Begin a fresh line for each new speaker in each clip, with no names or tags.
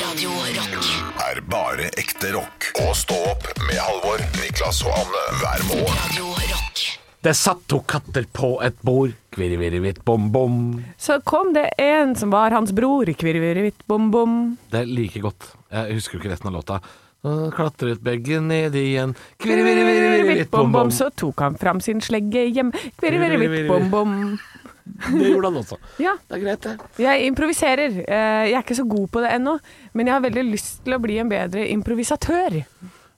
Radio Rock.
er bare ekte rock. Og stå opp med Halvor, Niklas og Anne hver morgen.
Radio Rock.
Det satt to katter på et bord. Kvirrevirrevitt, bom-bom.
Så kom det en som var hans bror, kvirrevirrevitt, bom bom.
Det er like godt. Jeg husker jo ikke resten av låta. Så klatret begge ned igjen. Kvirrevirrevirrevitt, bom-bom.
Så tok han fram sin slegge hjem, kvirrevirrevitt, bom bom.
Det gjorde han også.
Ja,
Det er greit, det.
jeg improviserer. Eh, Jeg er ikke så god på det ennå, men jeg har veldig lyst til å bli en bedre improvisatør.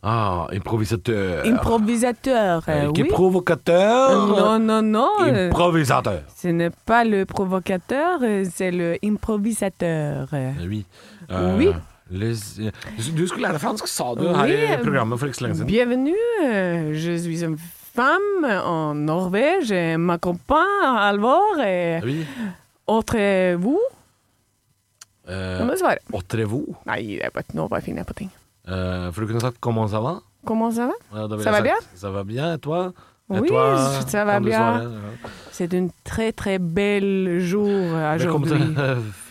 Ah, improvisatør.
Improvisatør, eh,
ikke
oui.
provokatør.
Non, non, non.
Improvisatør.
Ce n'est pas le provocateur, c'est le improvisateur.
Oui. Eh,
Oui.
les- Du skulle lære deg fransk, sa du her i
Oui.
programmet for ikke så lenge siden.
Bienvenue, je suis une femme en Norvège, et ma compagne, Alvor, et
Ah Oui.
Entre vous? Nå
Eh,
må du svare.
Autrevaux.
Nei, det er bare, nå bare finner jeg på ting.
Eh, for du kunne sagt 'comment ça va'?
Comment ça va?
Ja, da ville
Ça
jeg
va
sagt, Ça va bien, et toi? Et
Oui,
toi,
ça va
kan du
bien.
svare? Ja.
C'est un très très bel jour
Velkommen til
aujourd'hui.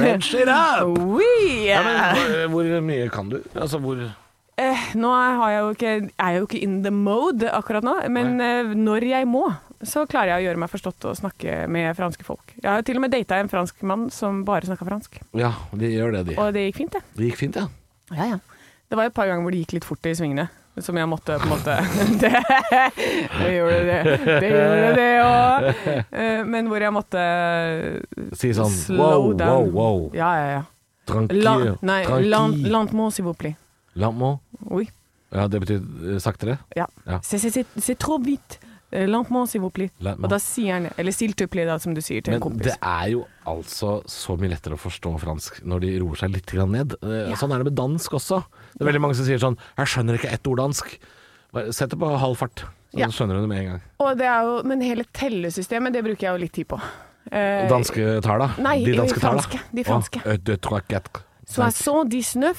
Ranch euh, It Up!
Oui!
Ja, men, hvor, eh, hvor mye kan du? Altså, hvor
Eh, nå er, har jeg jo ikke, er jeg jo ikke in the mode akkurat nå, men eh, når jeg må, så klarer jeg å gjøre meg forstått og snakke med franske folk. Jeg har jo til og med data en fransk mann som bare snakka fransk,
Ja, de gjør det, de.
og det gikk fint, det.
Det gikk fint, ja.
Ja, ja. Det var et par ganger hvor det gikk litt fort i svingene. Som jeg måtte på en måte Det, det gjorde det. Det gjorde det òg. Men hvor jeg måtte eh,
Si sånn
slow
wow, wow,
down.
wow.
Ja, ja, ja. La,
Tranquille.
nei,
tranquille.
lan- lentement, s'il vous plaît.
Lentement.
Oui.
Ja, det betyr eh, saktere?
Ja.
Ja.
C'est- c'est- C'est c'est trop vite. Eh, Lentement, s'il vous plaît.
Lentement.
Og da sier han det. Eller s'il te plaît, da, som du sier til en
Men
kompis.
det er jo altså så mye lettere å forstå fransk når de roer seg litt grann ned. Eh,
Ja.
Sånn er det med dansk også. Det er veldig mange som sier sånn 'Jeg skjønner ikke ett ord dansk'. Bare Sett det på halv fart, så
Ja.
skjønner du det med en gang.
Og det er jo, men hele tellesystemet, det bruker jeg jo litt tid på. Eh,
Danske tall, da?
Nei,
de danske
de
tall, da? Eh,
franske, de
Å,
franske.
un, deux, trois, quatre. Nei,
79,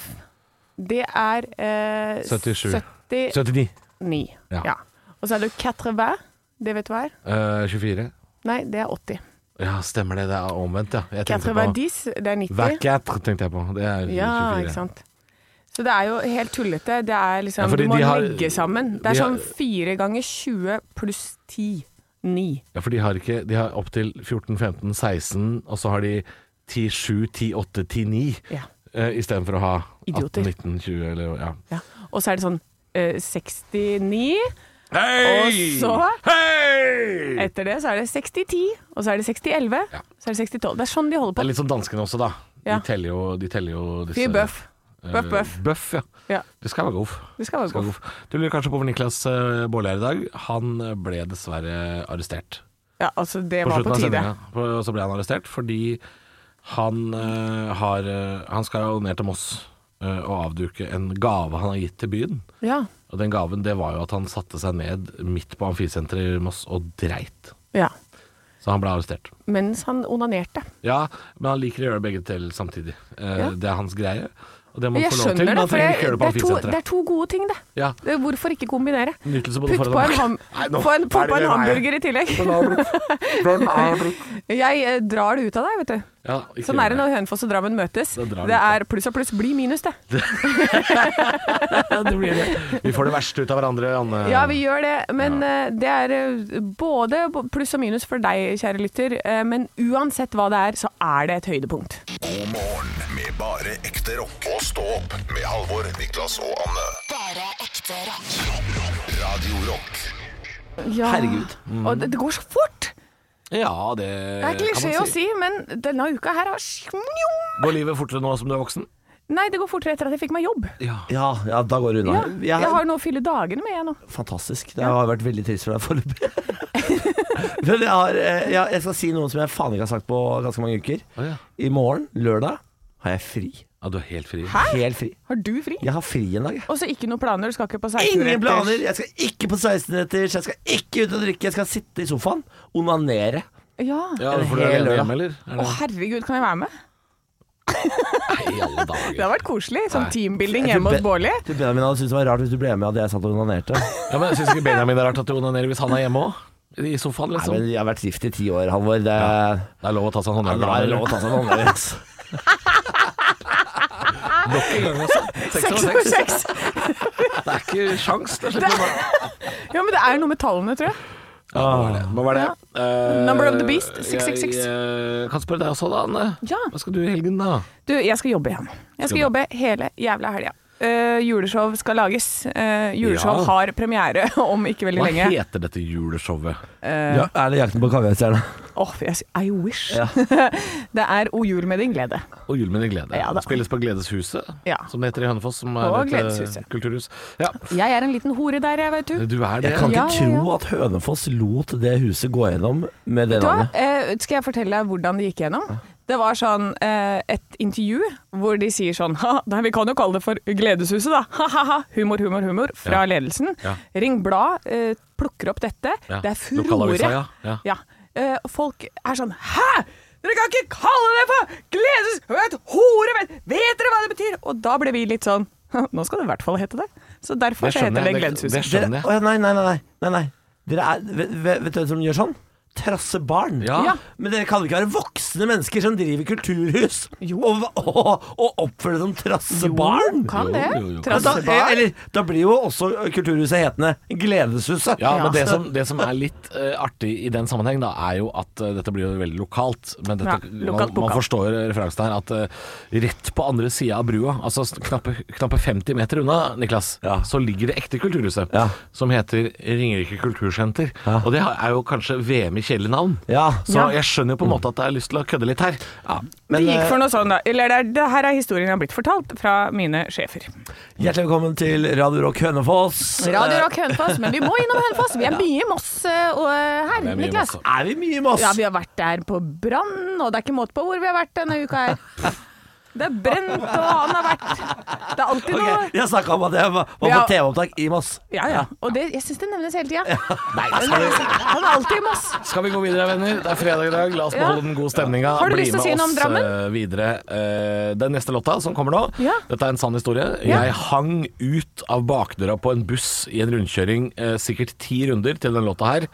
det er eh,
77.
70
79.
9.
Ja.
Ja. Og så er det 80, det vet du hva er?
Eh, 24.
Nei, det er 80.
Ja, stemmer det. Det er omvendt, ja. Jeg tenkte
80
på
10, det er 90.
24, tenkte jeg på. Det er 24.
Ja, ikke sant. Så det er jo helt tullete. Det er
Ja,
liksom,
fordi
du må
de har-
legge sammen. Det
de
er
har-
sånn 4 ganger 20 pluss 10. 9.
Ja, for de har ikke De har opptil 14, 15, 16, og så har de 10, 7, 10, 8, 10, 9.
Ja.
Uh, Istedenfor å ha 18,
Idioter.
19, 20 eller ja.
ja. Og så er det sånn eh, 69.
Hei!
Og så-
Hei!
Etter det så er det 60-10, og så er det 60-11,
Ja.
så er det 60-12. Det er sånn de holder
Det
på.
er litt som danskene også, da.
Ja.
De teller jo, de teller jo disse
Fy bøff.
eh,
Bøff, bøff.
Bøff, ja.
Ja,
Det skal være goff.
det skal være
Skal
godt.
gå for- Du lurer kanskje på hvor Niklas eh, Baarli er i dag. Han ble dessverre arrestert.
Ja, altså, det
På
var
slutten
på
av
tide.
sendinga på- så ble han arrestert fordi han eh, har eh, Han skal ned til Moss eh, og avduke en gave han har gitt til byen.
Ja.
Og den gaven det var jo at han satte seg ned midt på amfisenteret i Moss og dreit.
ja.
Så han ble arrestert.
Mens han onanerte.
Ja, men han liker å gjøre begge til samtidig. Eh,
Ja.
Det er hans greie. Og det må han
Jeg
få lov til.
skjønner
men
det,
han
for
trenger ikke
det,
gjøre det på
det, er to, det
amfisenteret.
er to gode ting, det.
Ja.
Det- Hvorfor ikke kombinere?
Nytelse både
Putt
for og
på en,
tilbake.
ham,
Nei, nå-
få en,
nå
få
er det
på en
det vei.
hamburger i tillegg. Jeg eh, drar det ut av deg, vet du.
Ja, ikke
Sånn
gjør
er det når Hønefoss og Drammen møtes.
Da drar
Det
vi ut
er pluss og pluss blir minus, det.
det blir det. Vi får det verste ut av hverandre, Anne.
Ja, vi gjør det, men eh, det er eh, både pluss og minus for deg, kjære lytter. eh, Men uansett hva det er, så er det et høydepunkt.
God morgen med bare ekte rock. Og stå opp med Halvor, Niklas og Anne.
Bare ekte rock.
Radio Rock
Ja.
Herregud. Mm.
Og det, det går så fort!
Ja, det
Det er klisjé å si, men denne uka her har
Går livet fortere nå som du er voksen?
Nei, det går fortere etter at jeg fikk meg jobb.
Ja.
Ja, ja, da går det unna.
Ja,
Jeg-
jeg har noe å fylle dagene med, jeg nå.
Fantastisk. Det har vært veldig trist for deg foreløpig. Men jeg, har, eh, ja, jeg skal si noe som jeg faen ikke har sagt på ganske mange uker.
Å, ja.
I morgen, lørdag, har jeg fri.
ja, du er helt fri.
Helt fri.
Har du fri?
Jeg har fri en dag. jeg.
Og så ikke noen planer, du skal ikke på 16
Ingen planer! Jeg skal ikke på 16-retters, jeg skal ikke ut og drikke, jeg skal sitte i sofaen, onanere.
Ja.
Ja,
En
for du er alene
hel lørdag.
hjemme, eller? Er
Å
det-
herregud, kan jeg være med?
Nei, i alle dager.
Det har vært koselig. Sånn
Nei.
teambuilding
Jeg tror
hjemme
Ben-
hos Bårli.
Jeg tror Benjamin hadde syntes det var rart hvis du ble med at jeg satt og onanerte.
Ja, men Syns ikke Benjamin det er rart at du onanerer hvis han er hjemme òg? I sofaen,
Nei,
liksom.
men Jeg har vært gift i ti år, Halvor. Det,
Det er lov å ta seg en
Ja,
håndjern.
da er det lov å ta seg en håndjern. ass.
Blokk i gang, altså. Seks
Seks
over
over
seks.
seks.
Det er ikke sjans. Det er skikkelig bra.
Ja, men det er noe med tallene, tror jeg.
Ah, må være det. Eh,
Number of the beast, 666.
Jeg eh, kan spørre deg også, da, Anne.
Ja.
Hva skal du i helgen, da?
Du, jeg skal jobbe igjen. Jeg skal jobbe hele jævla helga. Eh, juleshow skal lages. Eh, juleshow
Ja.
har premiere om ikke veldig
Hva
lenge. Åh,
heter dette juleshowet?
Eh.
Ja, er det Jakten på kaviarstjerna?
jeg s- I wish. det er O jul med din glede.
Og Jul med din glede.
Ja, da.
Det Spilles på Gledeshuset,
Ja.
som det heter i Hønefoss. Som er
Og
et, eh,
Gledeshuset.
kulturhus. Ja,
Jeg er en liten hore der, jeg, vet du.
du er det.
Jeg kan
Ja,
ikke
ja, ja.
tro at Hønefoss lot det huset gå gjennom med det
Vet du hva?
navnet.
Eh, skal jeg fortelle deg hvordan det gikk gjennom? Det var sånn eh, et intervju hvor de sier sånn «Ha, Nei, vi kan jo kalle det for Gledeshuset, da. Ha-ha-ha. Humor, humor, humor. Fra ledelsen.
Ja.
Ring Blad eh, plukker opp dette.
Ja.
Det er furore.
Lokalavisa, ja. Ja.
Ja. Eh, og folk er sånn Hæ?! Dere kan ikke kalle det for gledes... Vet, hore, vet, vet dere hva det betyr?! Og da ble vi litt sånn Nå skal det i hvert fall hete det. Så derfor
Det
så heter
skjønner
det
jeg. Det-
Gledeshuset.
det skjønner jeg.
Dere- Å, ja, nei, nei, nei, nei, nei. Dere er, vet, vet vet du hvem som gjør sånn? Trasse barn.
Ja.
Ja.
Men dere kan ikke være voksne mennesker som driver kulturhus og, og, og oppføre det som trasse barn.
Kan
Jo,
det.
jo, Altså, eh, jo.
Da,
Trasse barn.
eller, da blir jo også kulturhuset hetende Gledeshuset.
altså.
Ja, men det
Så-
som, det som er litt eh, artig i den sammenheng, da, er jo at eh, dette blir jo veldig lokalt. Men dette,
Ja, lokalt
man, man
pokal.
forstår referansen her, at eh, rett på andre sida av brua, altså s- knappe, knappe 50 meter unna, Niklas,
Ja.
så ligger det ekte kulturhuset,
Ja.
som heter Ringerike kultursenter.
Ja.
Og det er jo kanskje VM i kjedelig navn.
Ja.
Så
Ja.
jeg skjønner jo på en måte at det er lyst til å kødde litt her.
men,
det gikk
eh,
for noe sånn, da. Eller det, er- det her er historien jeg har blitt fortalt fra mine sjefer.
Hjertelig velkommen til Radio Rock Hønefoss. Eh,
Radio Rock Hønefoss, men vi må innom Hønefoss. Vi er mye i Moss eh, og her,
Det er mye
Niklas.
masse.
Er vi mye i Moss?
Ja, vi har vært der på brann, og det er ikke måte på hvor vi har vært denne uka her. Det er brent, og han har vært Det er alltid
Ok,
noe
jeg snakka om at jeg var, var
Ja.
på TV-opptak i Moss.
Ja, ja. Og det, jeg syns det nevnes hele tida.
Nei, skal vi,
Han er alltid i Moss.
skal vi gå videre, venner? Det er fredag i dag. La oss
Ja.
beholde den gode stemninga.
Har du lyst til å si noe om Drammen?
eh, videre. Eh, den neste låta som kommer nå,
Ja.
dette er en sann historie.
Ja.
Jeg hang ut av bakdøra på en buss i en rundkjøring eh, sikkert ti runder til den låta her.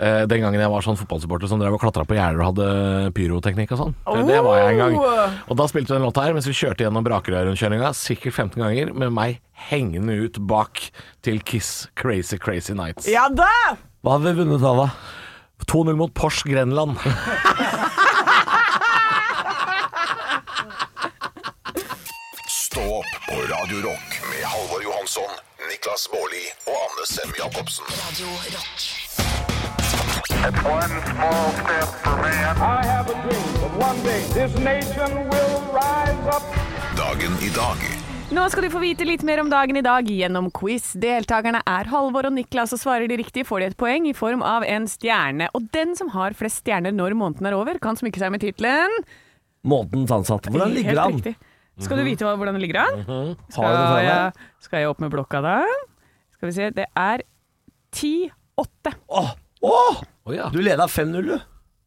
Eh, den gangen jeg var sånn fotballsupporter som drev og klatra på gjerder og hadde pyroteknikk og sånn. Eh, Det var jeg en gang.
Oh!
Og da spilte vi den låta her mens vi kjørte gjennom Brakerøy-rundkjøringa sikkert 15 ganger med meg hengende ut bak til Kiss Crazy Crazy Nights.
Ja da!
Hva hadde vi vunnet da, da?
2-0 mot Porsche Grenland.
Stå opp på Radio Rock med Halvor Johansson, Niklas Baarli og Anne Sem Jacobsen.
Radio Rock.
One small step for man.
I have a dream that one day this nation will rise up.
Dagen i dag
Nå skal du få vite litt mer om dagen i dag gjennom quiz. Deltakerne er Halvor og Niklas, og svarer de riktig, får de et poeng i form av en stjerne. Og den som har flest stjerner når måneden er over, kan smykke seg med tittelen
Månedens ansatte. Hvordan ligger det an? Mhm.
Helt riktig. Skal du vite hva- hvordan det ligger an?
Har du det
Skal
foran deg?
jeg, skal jeg opp med blokka da? Skal vi se, det er 10-8.
Åh, åh!
Å ja.
Du leda 5-0 du.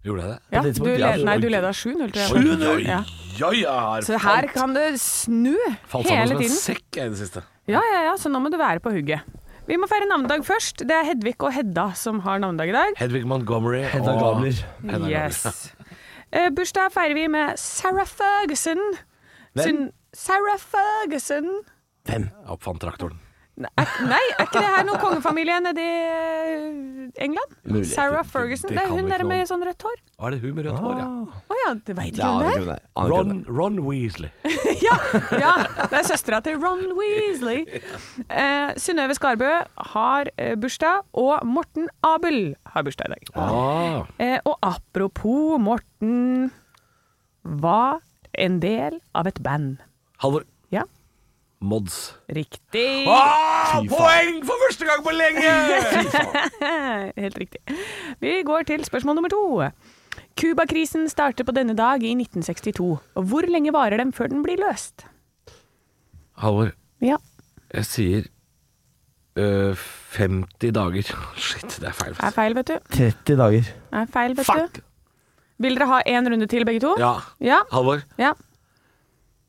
Gjorde jeg det?
Ja,
det
du,
tidspunktet, ja.
led, nei, du leda 7-0, tror jeg.
7-0?
Ja.
Ja, jeg har
Så her kan det snu
falt sammen
hele
som en
tiden.
sekk jeg i det siste.
Ja, ja, ja, så nå må du være på hugget. Vi må feire navnedag først. Det er Hedvig og Hedda som har navnedag i dag.
Hedvig Montgomery
Hedda
og
Gabler.
Hedda Gabler.
Yes. Eh, bursdag feirer vi med Sarah Ferguson. Syn- Sarah Ferguson.
Hvem oppfant traktoren?
Nei, er- nei, er ikke det her noen kongefamilie nede i eh, England?
Mulig.
Sarah Ferguson.
det
Det er
kan
hun
vi ikke
der
noe
med sånn rødt hår.
Å, er det hun med rødt hår, ja?
Å ja, det veit ikke
Ja,
hun
det
der.
kunne jeg. Ja, det kunne
Ah. Ron, Ron Weasley.
ja, ja, det er søstera til Ron Weasley. Eh, Synnøve Skarbø har eh, bursdag, og Morten Abel har bursdag i dag.
Ah.
Eh, og apropos Morten var en del av et band.
Halvor
Ja,
Mods.
riktig.
Ah, poeng for første gang på lenge!
Helt riktig. Vi går til spørsmål nummer to. Cuba-krisen starter på denne dag i 1962. Og Hvor lenge varer den før den blir løst?
Halvor,
Ja.
jeg sier øh, 50 dager. Shit, det er feil.
Er feil, vet du.
30 dager.
Er feil, vet
Fuck!
du. Vil dere ha én runde til, begge to?
Ja,
Ja.
Halvor.
ja.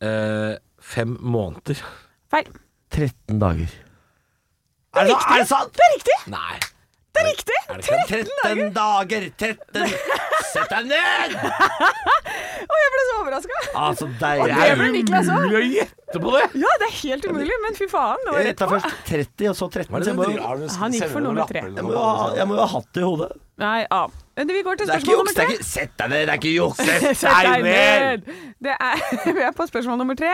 øh, fem måneder.
Feil.
13 dager.
Er det, er det sant?
Det er riktig!
Nei.
Det er riktig!
Er det ikke?
13 dager! 13 Sett deg ned!
Å, jeg ble så overraska.
Ah, så deilig.
det er vel Niklas også?
å gjette på det!
Ja, det er helt umulig, men fy faen. Det var
Jeg
rett
gjettet
på.
Eh, først 30, og så 13. så Jeg må, jo-
Han gikk for nummer tre.
jeg må, jo ha- jeg må jo ha hatt det i hodet.
Nei, ja. Men Vi går til
Det er ikke
spørsmål
juks.
nummer
det er
tre.
ikke- Sett deg ned, det er ikke juks! Sett
Sett
deg ned!
Det er, vi er på spørsmål nummer tre.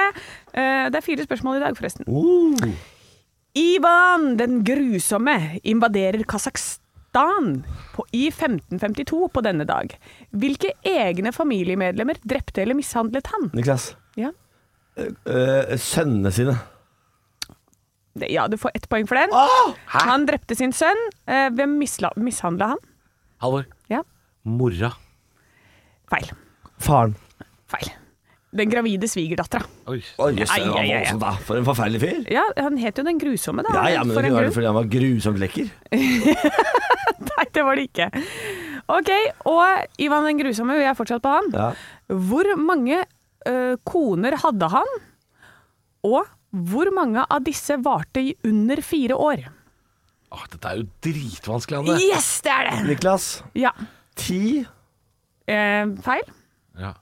Eh, Det er fire spørsmål i dag, forresten.
Uh.
Ivan den grusomme invaderer Kasakhstan på, i 1552 på denne dag. Hvilke egne familiemedlemmer drepte eller mishandlet han?
Niklas.
Ja,
øh, sønnene sine.
det, ja du får ett poeng for den. Han drepte sin sønn. Eh, Hvem misla- mishandla han?
Halvor.
Ja,
Mora.
feil.
Faren.
Feil. Den gravide svigerdattera.
Oi.
Å, jøss,
Ai,
det var
ai, ai, ai.
voldsomt, da. For en forferdelig fyr.
Ja, han het jo Den grusomme, da.
Ja, ja, men det
For en
kunne være
grunn.
fordi han var grusomt lekker.
Nei, det var det ikke. Ok, og Ivan den grusomme, vi er fortsatt på han.
Ja.
Hvor mange ø, koner hadde han? Og hvor mange av disse varte i under fire år?
Åh, dette er jo dritvanskelig, Anne.
Yes, det er det!
Niklas.
Ja.
Ti.
Eh, feil?
Ja.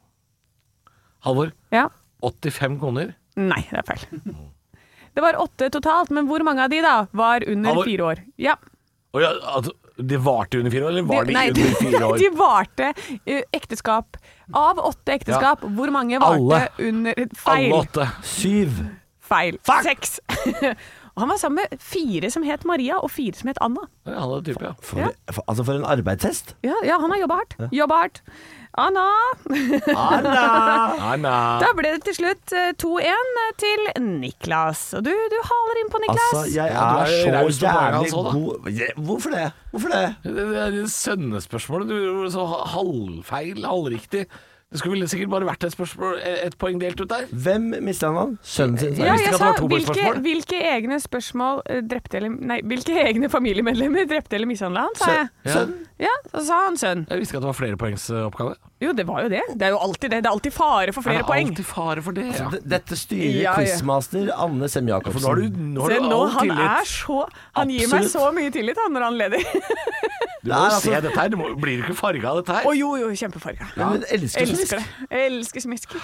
Halvor.
Ja.
85 kroner.
Nei, det er feil. Det var åtte totalt, men hvor mange av de da var under
Halvor.
fire år? Ja.
Å ja, altså, det varte under fire år, eller var de,
nei,
under fire år?
de varte ø, ekteskap. Av åtte ekteskap, hvor mange varte
Alle.
under Feil.
Alle åtte.
Syv.
Feil. Seks. og han var sammen med fire som het Maria, og fire som het Anna.
Ja, han er type, ja.
For, for, altså, for en arbeidshest.
Ja, ja han har jobba hardt. Jobba hardt. Anna!
Nei, nei.
Da ble det til slutt eh, 2-1 til Niklas. Og du, du haler inn på Niklas.
Altså, jeg
Ja, du
er
er jo raus på
så
poengene
jævlig
også, da.
god Ja, Hvorfor det? Hvorfor det?
Det, det er et sønnespørsmål. Du gjorde så halvfeil, halvriktig. Det skulle vel sikkert bare vært et, spørsmål, et poeng delt ut der.
Hvem mista han? han? Sønnen sin?
ja,
visste
jeg
ikke at det
sa
var to
hvilke,
spørsmål.
hvilke egne spørsmål eh, drepte eller Nei, hvilke egne familiemedlemmer drepte eller mishandla han, sa
Sø-
jeg.
Sønn?
Ja, så sa han sønn.
Jeg visste ikke at det var flerepoengsoppgave.
Jo, det var jo det. Det er jo alltid det. Det er alltid fare for flere
er
poeng.
alltid fare for Altså, det. Ja.
D- Dette styrer
Ja, ja.
quizmaster Anne Sem-Jacobsen.
For nå har du, nå har
Se
du
nå,
all
han er
tillit.
så Han gir meg
Absolutt.
så mye tillit han når han leder.
Du må
Det er
jo
altså-
se dette her. Du må, blir du ikke farga av dette
Å
her?
jo, jo, kjempefarga.
Hun elsker smisk.
Elsker det. Elsker smisk.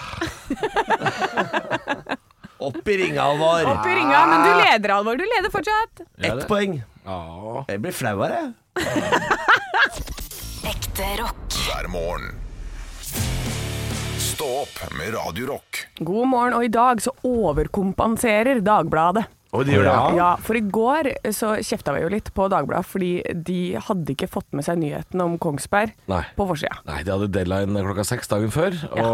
Opp i ringa, Alvor.
Opp i ringa, men du leder, Alvor. Du leder fortsatt.
Ett poeng.
Ja.
Jeg blir flau av det.
Ekte rock.
hver morgen. Stå opp med Radio Rock.
God morgen, og i dag så overkompenserer Dagbladet.
Og de gjør det.
Ja, for i går så kjefta vi jo litt på Dagbladet, fordi de hadde ikke fått med seg nyhetene om Kongsberg
Nei.
på forsida.
Nei, de hadde deadline klokka seks dagen før. Og, da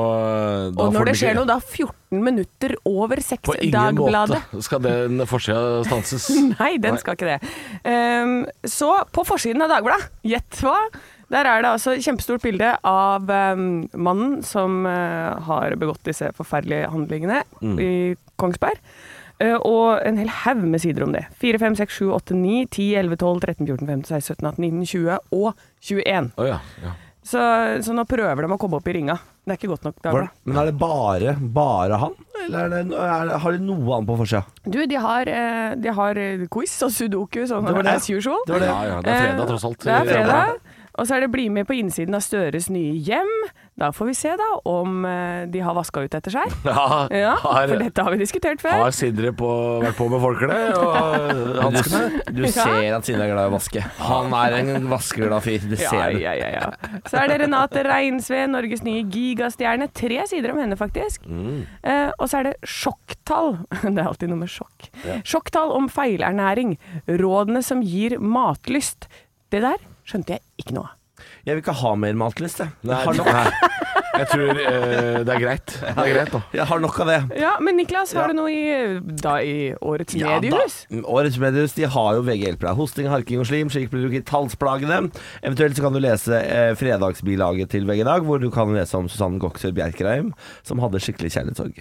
Og
får
når det
de
skjer
ikke-
noe da 14 minutter over seks
På ingen
Dagbladet
måte skal den forsida stanses.
Nei, den skal ikke det. Ehm, så på forsiden av Dagbladet, gjett hva? Der er det altså et kjempestort bilde av ehm, mannen som eh, har begått disse forferdelige handlingene
Mm.
i Kongsberg. Eh, og en hel haug med sider om det. 4, 5, 6, 7, 8, 9, 10, 11, 12, 13, 14, 15, 16, 17, 18, 19, 20 og 21.
Å ja, ja.
Så, så nå prøver de å komme opp i ringa. Det er ikke godt nok,
Var-
Dagbladet.
Men er det bare, bare han? Eller er det, no- er det, har de noe annet på forsida?
Du, de har, eh, de har eh, quiz og sudoku sånn
Det var det.
as usual.
var det.
ja, ja. Det er fredag, tross alt.
Eh, Det er fredag. Og så er det bli med på innsiden av Støres nye hjem. Da får vi se da om eh, de har vaska ut etter seg.
Ja,
Ja,
har,
for dette har vi diskutert før.
har Sindre på, vært på med folkene og hanskene?
Du ser at Sine er glad i å vaske. Han er en vaskeglad fyr. Det
Ja, ja, ja, ja. Så er det Renate Reinsve, Norges nye gigastjerne. Tre sider om henne, faktisk.
Mm.
Eh, og så er det sjokktall. Det er alltid noe med sjokk. Sjokktall om feilernæring. Rådene som gir matlyst. Det der skjønte jeg ikke noe av.
Jeg vil ikke ha mer matlist, jeg.
Nei,
Jeg har nok,
nei. Jeg tror eh, det er greit. Det er greit nå.
jeg har nok av det.
Ja, Men Niklas, har du noe i, da, i årets
Ja,
mediehus?
da. Årets mediehus de har jo VG-hjelp deg. Hosting, harking og slim, slik blir du ikke talsplagene. Eventuelt så kan du lese eh, fredagsbilaget til VG i dag, hvor du kan lese om Susanne Goksør Bjerkreim, som hadde skikkelig kjærlighetssorg.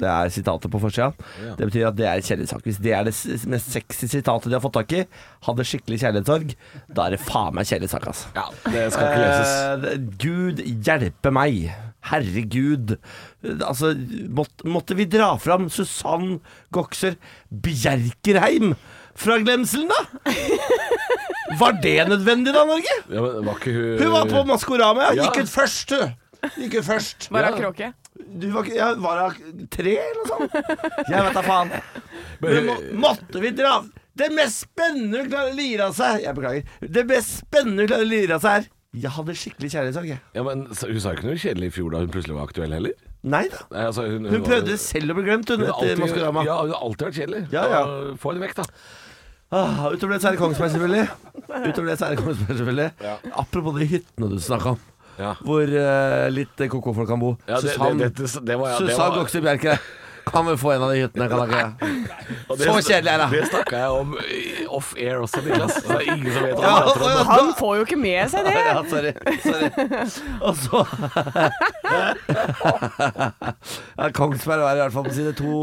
Det er sitatet på forsida. Det betyr at det er en kjærlighetssak. Hvis det er det s- mest sexy sitatet de har fått tak i, hadde skikkelig kjærlighetssorg, da er det faen meg kjærlighetssak, altså.
Ja, det skal ikke leses.
Eh, Gud hjelpe meg. Herregud. Eh, Altså, måtte, måtte vi dra fram Susann Goksør Bjerkerheim fra glemselen, da? Var det nødvendig da, Norge?
Ja, men var ikke hun
Hun var på Maskorama, ja.
Eh, Ja.
Gikk ut først, hun. Gikk ut først.
Var
Ja.
av kråke?
Du var, ikke- jeg var her tre, eller noe sånt. Jeg vet da faen. Men må,
Eh,
måtte vi dra Det mest spennende vi klarer å lire av seg Jeg beklager. Det mest spennende vi klarer å lire av seg her. Jeg hadde skikkelig kjærlighetssorg, jeg.
Ja, men så- Hun sa jo ikke noe kjedelig i fjor da hun plutselig var aktuell heller.
Nei da.
Nei, altså, hun,
Hun
var-
prøvde selv å bli glemt, hun,
hun har
etter
alltid-
Maskorama.
Ja, hun har alltid vært kjedelig.
Ja, ja.
Da Få henne vekk, da.
Ah, utover det så er det Kongsberg, selvfølgelig. Utover det så er det Kongsberg, selvfølgelig.
Ja.
Apropos de hyttene du snakka om,
Ja.
hvor eh, litt KK-folk kan bo.
Ja, det-
Susann
det- det- det var- ja, det
Susann
var-
Goksøy Bjerke. Kan vi få en av de hyttene? Kan dere?
Og
Så kjedelig er det.
Det snakka jeg om eh, off air også, Niklas. Så det er ingen som vet hva
Ja,
jeg prater om.
ja,
Han får jo ikke med seg det.
ja, sorry. sorry. Og så ja, Kongsberg er i hvert fall på side 2,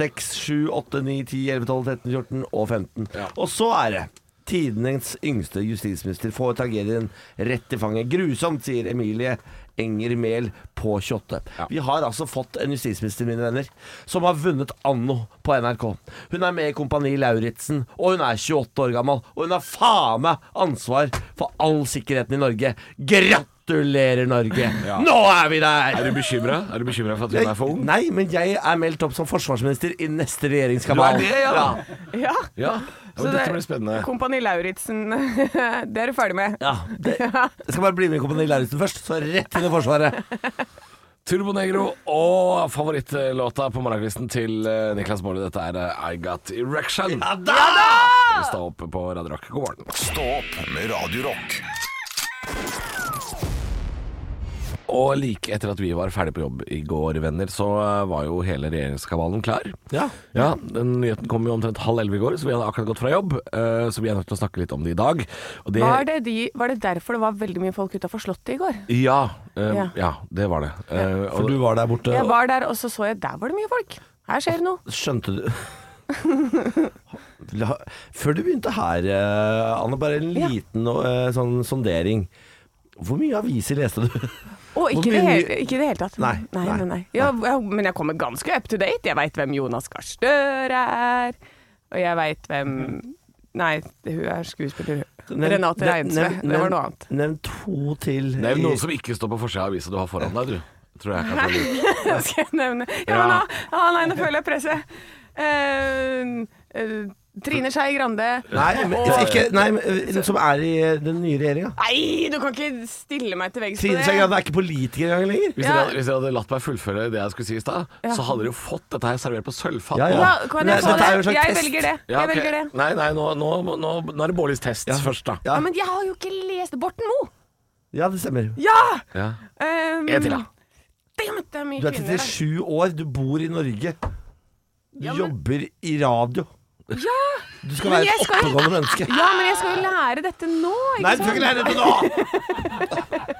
6, 7, 8, 9, 10, 11, 12, 13, 14 og 15.
Ja.
Og så er det Tidenes yngste justisminister får tragedien rett i fanget. Grusomt, sier Emilie Enger Mehl på 28.
Ja.
Vi har altså fått en justisminister, mine venner, som har vunnet anno på NRK. Hun er med i Kompani Lauritzen, og hun er 28 år gammel. Og hun har faen meg ansvar for all sikkerheten i Norge. Gratulerer, Norge!
Ja.
Nå er vi der!
Er du bekymra? Er du bekymra for at hun er for ung?
Nei, men jeg er meldt opp som forsvarsminister i neste regjeringskabal.
Du er det, ja.
Ja.
Ja, ja
Så
men dette blir spennende.
Kompani Lauritzen, det er du ferdig med.
Ja, det. Jeg skal bare bli med i Kompani Lauritzen først, så rett inn i Forsvaret.
Turbo Negro og favorittlåta på morgenkvisten til eh, Niklas Baarli. Dette er eh, I Got Erection. Ja da! Stå opp på Radio Rock. God morgen.
Stå opp med Radio Rock.
Og like etter at vi var ferdig på jobb i går, venner, så eh, var jo hele regjeringskabalen klar.
Ja.
Ja, den nyheten kom jo omtrent halv elleve i går, så vi hadde akkurat gått fra jobb. eh, Så vi er nødt til å snakke litt om det i dag. Og det,
Var det, de, var det derfor det var veldig mye folk utafor Slottet i går?
Ja, eh,
Ja.
ja, det var det. Eh, og-
For du var der borte.
Jeg
og-
var der, og så så jeg der var det mye folk. Her skjer det noe.
Skjønte du La, Før du begynte her, eh, Anne, bare en
Ja.
liten eh, sånn sondering. Hvor mye aviser leste du?
Og
Hvor
ikke i det,
mye
hele-
ny-
ikke i det hele tatt.
Nei,
nei,
nei,
nei, nei. Ja, ja, men jeg kommer ganske up to date. Jeg veit hvem Jonas Gahr Støre er, og jeg veit hvem
Mm.
Nei, hun er skuespiller. hun. Renate Reinsve. Det var noe annet.
Nevn to til.
Nevn
i-
noen som ikke står på forsida av avisa du har foran deg, du. Tror jeg kan ta lurt.
Skal jeg nevne Ja,
Ja.
men da- ah, nei, nå føler jeg presset. Eh, eh, Trine Skei Grande.
Nei, men,
Og-
ikke, nei, men, eh, som er i den nye regjeringa.
Nei, du kan ikke stille meg til veggs på
Trine Skei Grande
det.
er ikke politiker engang lenger.
Hvis,
Ja.
dere hadde, hvis dere hadde latt meg fullføre det jeg skulle si i stad,
Ja.
så hadde dere jo fått dette her servert på sølvfat.
Ja, ja.
Ja, kan
Men
jeg få
dette er jo en
det?
slags
Jeg
test.
velger det.
Ja,
Jeg
ok.
velger det.
Nei, nei, nå, nå, nå, nå er det Bårdis test først, da.
Ja.
Ja, men jeg har jo ikke lest Borten Moe!
Ja, det stemmer.
Ja!
Ja.
Um,
En til,
Mm.
da.
Damn, det er mye
Du er
kvinner her.
37 år, du bor i Norge. Du
Ja, men-
jobber i radio.
altså. Ja,
Du skal
Men
være
jeg
et
skal-
oppegående menneske.
ja, men jeg skal jo lære dette nå, ikke
Nei, du skal
sant?
ikke lære dette nå!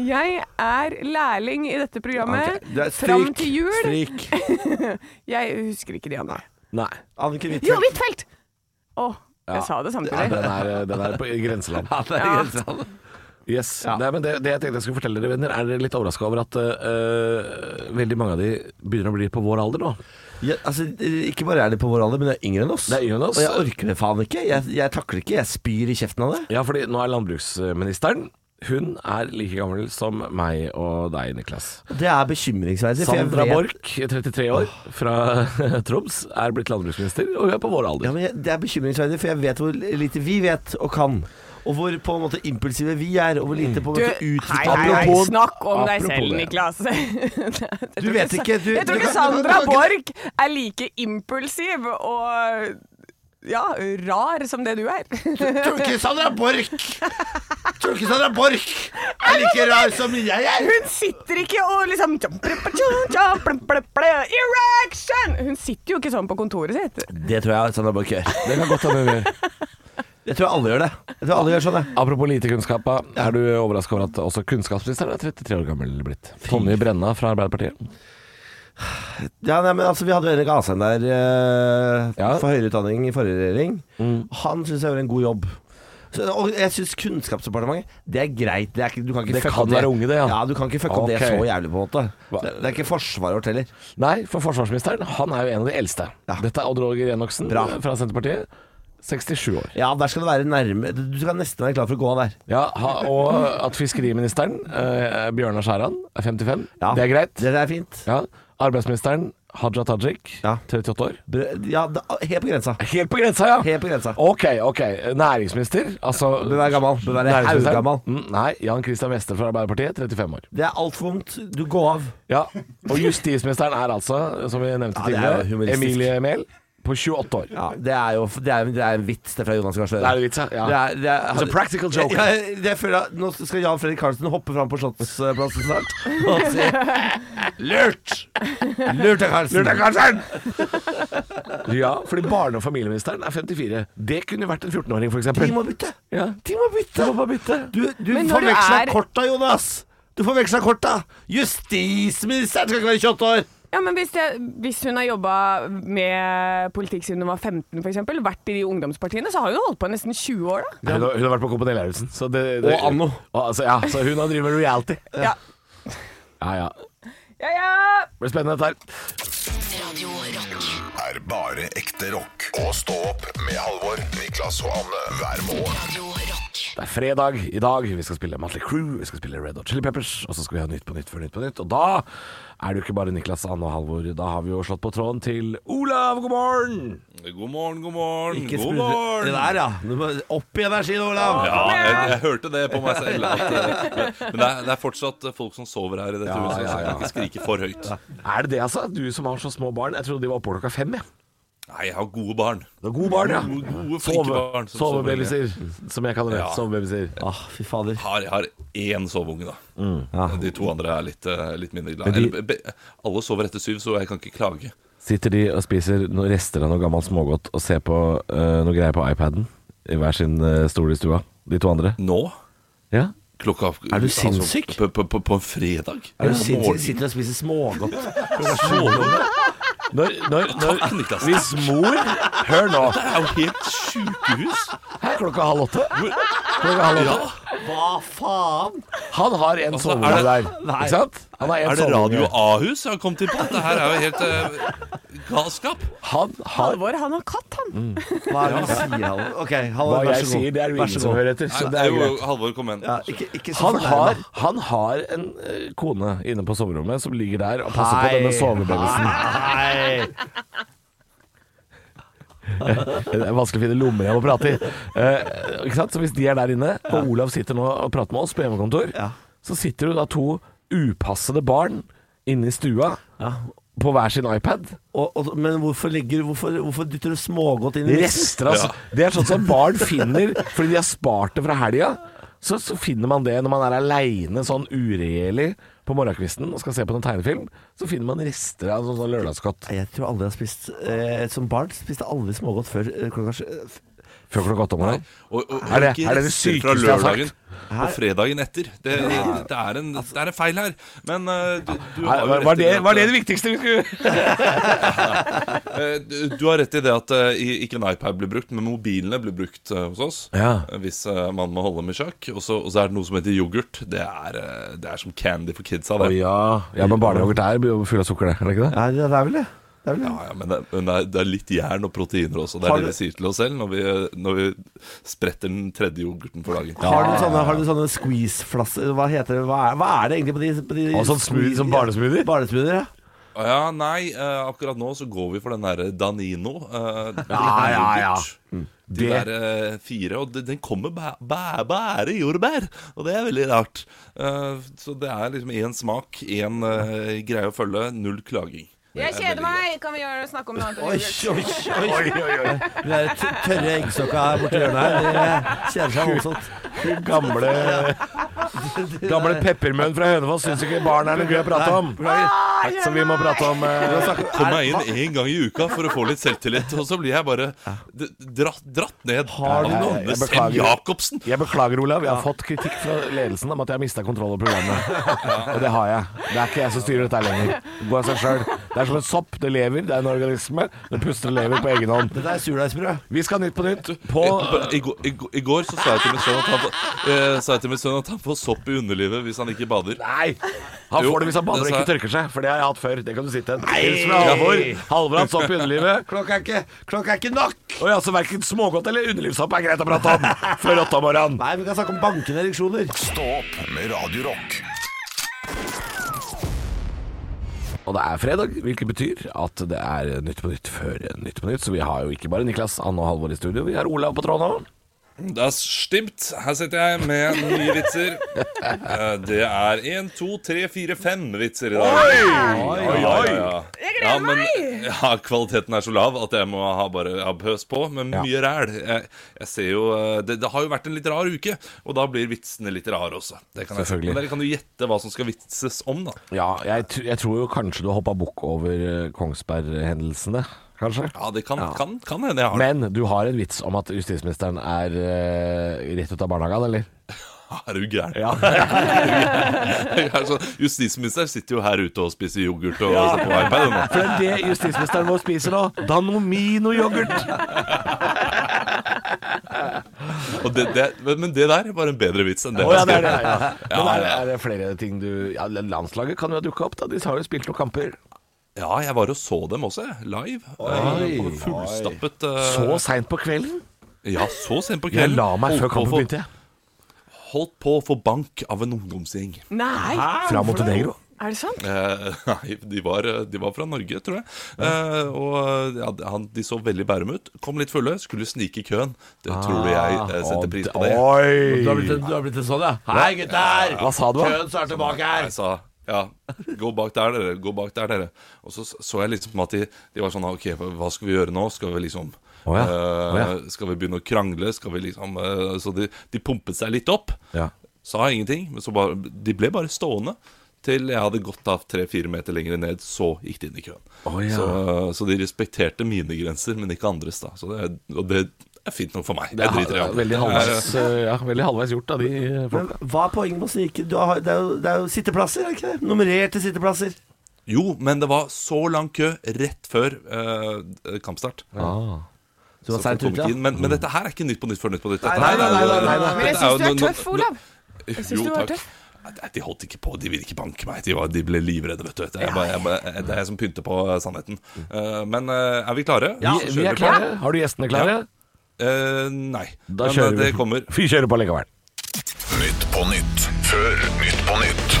Jeg er lærling i dette programmet.
Ok, du er-
Fram
stryk,
til jul.
Stryk.
Jeg husker ikke de andre.
Nei.
Anniken
Jo,
Huitfeldt.
Huitfeldt! Å, jeg sa det
Ja,
samtidig.
den, er, eh, den er på grenseland.
Ja, det er
Ja.
grensehandel.
Yes.
Ja.
Nei, men det, det jeg tenkte jeg skulle fortelle dere, venner, er dere litt overraska over at øh, veldig mange av de begynner å bli på vår alder nå?
Ja, altså, ikke bare er de på vår alder, men de er yngre enn oss.
Det er yngre enn oss.
Og jeg orker det faen ikke. Jeg, jeg takler ikke. Jeg spyr i kjeften av det.
Ja, fordi nå er landbruksministeren Hun er like gammel som meg og deg, Niklas.
Det er bekymringsverdig. for jeg
Sandra
vet-
Borch, 33 år, fra Troms, er blitt landbruksminister, og hun er på vår
Ja,
alder.
men jeg, det er bekymringsverdig, for jeg vet hvor lite vi vet og kan. Og hvor på en måte impulsive vi er, og hvor lite på
Mm. Du,
en måte
hei, hei,
utviklet
hei,
Apropos-
snakk om deg
apropos
selv,
det.
Niklas. Jeg tror
Du vet
Sa-
ikke, du-
Jeg
du
tror ikke
kan-
Sandra
du kan-
Borch er like impulsiv og ja, rar som det du er.
Tror ikke Sandra Borch Tror ikke Sandra Borch er like rar som jeg er?
Hun sitter ikke og liksom Erection! Hun sitter jo ikke sånn på kontoret sitt.
Det tror jeg Sandra Borch gjør.
Det kan godt hende hun gjør.
Jeg tror alle gjør det. Jeg tror alle gjør sånn, jeg.
Apropos lite kunnskap, da. er du overraska over at også kunnskapsministeren er 33 år gammel blitt? Tonje Brenna fra Arbeiderpartiet.
Ja, nei, men altså, vi hadde jo Erik Asheim der eh,
Ja. Mm.
for høyere utdanning i forrige regjering. Han syns jeg gjorde en god jobb. Så, og jeg syns Kunnskapsdepartementet Det er greit. Det, er ikke, du kan ikke
Det
fucke
kan
opp
være unge, det, ja.
ja. Du kan ikke fucke opp
Ok.
det så jævlig, på en måte.
Hva-
Det, det er ikke forsvaret vårt heller.
Nei, for forsvarsministeren, han er jo en av de eldste.
Ja.
Dette er Odd Roger Enoksen
Bra.
fra Senterpartiet. 67 år.
Ja, der skal det være nærme Du skal nesten være klar for å gå av der.
Ja, ha, Og at fiskeriministeren, eh, Bjørnar Skjæran, er 55.
Ja.
Det er greit.
Det er fint.
Ja. Arbeidsministeren, Haja Tajik,
Ja.
38 år.
Brød, ja, da, helt på grensa.
Helt på grensa, ja!
Helt på grensa.
Ok, ok. Næringsminister. Altså,
Bør være gammel. Bør være
næringsministeren.
haugagammal.
Mm, nei, Jan Christian Wester fra Arbeiderpartiet, 35 år.
Det er altfor vondt. Du går av.
Ja, Og justisministeren er altså, som vi nevnte
Ja, det er jo
tidligere,
humoristisk.
Emilie Mehl på 28 år.
Ja, det er jo det er, det er en vits, det fra Jonas Gahr Støre.
Det er en vits, ja. Ja.
Det er, det er,
It's a practical joke.
Ja, jeg- jeg føler at nå skal Jan Fredrik Karlsen hoppe fram på Slottsplassen snart og si Lurt! Lurt deg, Karlsen.
Ja, fordi barne- og familieministeren er 54. Det kunne vært en 14-åring, f.eks.
De må bytte.
Ja.
De må bytte. Du, du
Men når du
forveksla
er-
korta, Jonas. Du forveksla korta. Justisministeren skal ikke være 28 år.
Ja, men hvis, jeg, hvis hun har jobba med politikk siden hun var 15 f.eks., vært i de ungdomspartiene, så har hun holdt på i nesten 20 år,
Hun,
da.
har, hun har vært på Kompani Lauritzen. så det- det-
Og Anno.
Og, altså, ja, så hun har drevet med reality.
Ja.
Ja, ja.
Ja, ja.
Det blir spennende, dette her.
Radio Rock.
er bare ekte rock. Og stå opp med Halvor, Niklas og Anne hver morgen.
Radio Rock.
Det er fredag i dag. Vi skal spille Motley Crew, vi skal spille Red Hot Chili Peppers, og så skal vi ha Nytt på Nytt før Nytt på Nytt. Og da er det jo ikke bare Niklas, Anne og Halvor. Da har vi jo slått på tråden til Olav, god morgen!
God morgen, god morgen,
Ikke
god
sprudle-
morgen!
Det der, ja. Du må opp i energien, Olav.
Ja, jeg, jeg hørte det på meg selv. At, eh, men det er, det er fortsatt eh, folk som sover her i dette huset, så jeg kan ikke skrike for høyt.
Er det det, altså? Du som har så små barn. Jeg trodde de var oppe klokka fem, jeg.
Nei, jeg har gode barn.
Det er gode barn, ja.
Gode, gode flinke
Sove,
barn. som sover lenge.
sovebabyser, som jeg kaller det.
Ja.
Sovebabyser.
Ah, fy fader.
Har, jeg har én soveunge, da. Eh, De to andre er litt, eh, litt mindre glad.
Mm. de-
Eller, be, be- alle sover etter syv, så jeg kan ikke klage.
Sitter de og spiser noen rester av noe gammelt smågodt og ser på eh, noe greier på iPaden i hver sin eh, stol i stua? De to andre?
Nå?
Ja.
Klokka altså,
Er du sinnssyk?
På, på, på, på en fredag?
Er du
På
sinnssyk?
morgenen.
Sitter og spiser smågodt.
Sove-
Når, når, når
Takk, Niklas.
Hvis mor Hør nå.
Det er jo helt sjukehus!
Her klokka halv åtte. Klokka halv åtte.
Hva faen?
Han har en
Altså, er
soveunge
det-
der.
Nei.
Ikke sant? Han har en
Er det
soveunge.
Radio Ahus jeg har kommet inn på? Dette her er jo helt eh, galskap.
Han har
Halvor, han har katt, han.
Hva er det du sier, Halvor? Ok, Halvor,
Hva
vær
jeg
så god.
sier, det er jo
Vær så
ingen som
god.
hører etter. Så
Nei,
det er
jo,
greit.
jo, Halvor, kom igjen.
Ja, ikke, ikke så
Han har,
fornærma.
han har en eh, kone inne på soverommet som ligger der og passer på
Hei.
denne sovebabysen.
Nei.
Det er vanskelig å finne lommer jeg må prate i. Eh, ikke sant? Så hvis de er der inne, og Olav sitter nå og prater med oss på hjemmekontor,
Ja.
så sitter det da to upassede barn inne i stua på hver sin iPad.
Og, og, men hvorfor, ligger, hvorfor, hvorfor dytter du smågodt inn i midten?
Rester, altså. Det er sånn som barn finner fordi de har spart det fra helga. Så, så finner man det når man er aleine sånn uregjerlig på morgenkvisten og skal se på noen tegnefilm. Så finner man rester av sånn, sånn lørdagskott
Nei, Jeg tror aldri jeg har spist eh, Som barn spiste aldri smågodt før eh, klokka sj- eh, f-
før klokka åtte om morgenen.
Og, og,
Er det-
ikke
er det det
rester fra
sykeste jeg har sagt? Altså-
lørdagen På fredagen etter. Det, det, er en, det er en feil her. Men eh, du, du
Nei,
har jo
Var,
rett
var,
i
det,
at,
var det det viktigste vi skulle
eh, du- Du har rett i det at eh, i- ikke en iPad blir brukt, men mobilene blir brukt eh, hos oss.
Ja.
Eh, Hvis eh, man må holde dem i sjakk. Og så og så er det noe som heter yoghurt. Det er, eh, det er som candy for kidsa. Det.
ja. ja, men barneyoghurt er jo full av sukker, det. Er det ikke det?
Nei, det er vel det. det, er vel det.
Ja, ja, men det, men det, er, det er litt jern og proteiner også. Det
Har
er
du-
det vi sier til oss selv når vi, eh, når vi spretter den tredje yoghurten for dagen.
Har du sånne, har du sånne squeeze-flasser Hva heter det? Hva er, hva er det egentlig på de, på de
Og sånn smoothie, sånn barnesmoothie?
Barnesmoothie, ja.
Å Ja, nei, eh, akkurat nå så går vi for den der Danino. eh,
Ja, ja, ja. Mm.
yoghurt. De
Det-
der eh, fire, og de- den kommer bæ- bæ- bære jordbær, og det er veldig rart. Eh, så det er liksom én smak, én eh, greie å følge, null klaging.
Jeg
Det er veldig
kjeder
greit.
meg! Kan vi gjøre, snakke om noe annet?
Oi, oi, oi. De der t- tørre eggstokka her borti hjørnet her, de kjeder seg voldsomt.
Gamle, gamle peppermønn fra Hønefoss syns ikke barn er noe gøy å prate om. Så vi må prate om eh,
Kom meg inn én gang i uka for å få litt selvtillit, og så blir jeg bare d- dratt, dratt ned.
Har du
av
noe-
Anne
Jeg
Sem
beklager.
Jacobsen!
Jeg beklager, Olav. Jeg har fått kritikk fra ledelsen om at jeg har mista kontroll over programmet. Og det har jeg. Det er ikke jeg som styrer dette lenger. Det går av seg sjøl. Det er som en sopp. Det lever, det er en organisme. Det puster og lever på egen hånd.
Dette er surdeigsbrød.
Vi skal Nytt på Nytt på
I, i, går- i, går- I går så sa jeg til min sønn at han, får- eh, sa jeg til min sønn at han får sopp i underlivet hvis han ikke bader.
Nei! Han
Jo,
får det hvis han bader og
det sa
ikke
jeg.
tørker seg, for det har jeg hatt før. Det kan du si til en. Hils fra Halvor. Halvor har hatt sopp i underlivet.
Klokka er ikke, klokka er ikke nok!
Og ja, så verken smågodt eller underlivssopp er greit å prate om før åtte om morgenen.
Nei, vi kan snakke om bankende ereksjoner.
Stå opp med Radio Rock.
Og det er fredag, hvilket betyr at det er Nytt på Nytt før Nytt på Nytt. Så vi har jo ikke bare Niklas, Anne og Halvor i studio, vi har Olav på tråden òg.
Das stimmt. Her sitter jeg med nye vitser. Eh, Det er én, to, tre, fire, fem vitser i dag. Oi, oi, Jeg gleder meg! Ja, kvaliteten er så lav at jeg må ha bare ha pøs på, men mye ræl. Jeg, jeg ser jo eh, det, det har jo vært en litt rar uke, og da blir vitsene litt rare også. Det kan jeg si.
Selvfølgelig.
Men dere kan jo gjette hva som skal vitses om, da.
Ja, jeg, tr- jeg tror jo kanskje du hoppa bukk over eh, Kongsberg-hendelsene, kanskje.
Ja, det kan, kan, kan hende jeg har
Men du har en vits om at justisministeren er eh, rett ut av barnehagen, eller?
Er du gæren?
Ja.
Jeg er sånn- Justisministeren sitter jo her ute og spiser yoghurt og ser på iPad. nå.
For det er det justisministeren vår spiser nå. Danomino-yoghurt.
Og det, det, men men det der var en bedre vits enn det.
Å ja, det er det. Ja.
Ja,
Men er,
ja.
er det flere ting du ja, Landslaget kan jo ha dukka opp, da. De har jo spilt noen kamper.
Ja, jeg var og så dem også, jeg, live. Eh, på Fullstappet eh,
Så seint på kvelden.
Ja, så sent på
Jeg
kvelden.
la meg før
Holdt på å
kampen
få-
begynte. jeg.
Holdt på å få bank av en ungdomsgjeng.
Nei,
Fra Montenegro.
er det sant?
Eh, nei, de var, eh, de var fra Norge, tror jeg. Eh, og ja, han, de så veldig Bærum ut. Kom litt fulle, skulle snike i køen. Det
Ah,
tror jeg eh, setter pris på det.
Du har
Oi!
blitt, en- du har blitt en sånn, ja. Hei, gutter!
Hva sa du, da?
Køen snart tilbake her.
Jeg sa ja, gå bak der, dere. Gå bak der, dere. Og så så jeg liksom at de, de var sånn OK, hva skal vi gjøre nå? Skal vi liksom
Å ja,
eh, Skal vi begynne å krangle? Skal vi liksom eh, Så de, de pumpet seg litt opp.
Ja.
Sa ingenting, men så bare De ble bare stående. Til jeg hadde gått av tre-fire meter lenger ned, så gikk de inn i køen.
Å ja.
så, eh, så de respekterte mine grenser, men ikke andres, da. Så det, og det er fint nok for meg. Jeg driter i
Ja,
andre.
veldig, halvveis, eh, ja, veldig halvveis gjort av de eh,
Men
folka.
hva er poenget med å snike? Du har, det, er jo, det er jo sitteplasser, er det ikke det? Nummererte sitteplasser.
Jo, men det var så lang kø rett før eh, kampstart.
Du var
Så
seint
folk
ute,
kom ikke
ja.
inn.
Mm.
Men, men dette her er ikke Nytt på Nytt før Nytt på Nytt. Dette
Nei,
her
nei,
er
nei,
jo-
nei, nei, nei.
dette
Men jeg
er
syns
jo
du er
no- no-
tøff, Olav. Jeg syns
Jo,
du var
takk.
tøff.
Nei, De holdt ikke på, de ville ikke banke meg. De, var, de ble livredde, vet du. Det er, jeg bare, jeg bare, det er jeg som pynter på sannheten. Eh, men eh, er vi klare?
Vi,
Så kjører
vi er
på.
klare. Har du gjestene klare?
Eh, nei.
Da
men eh,
kjører vi.
det kommer.
Vi kjører på likevel.
Nytt på nytt før Nytt på nytt.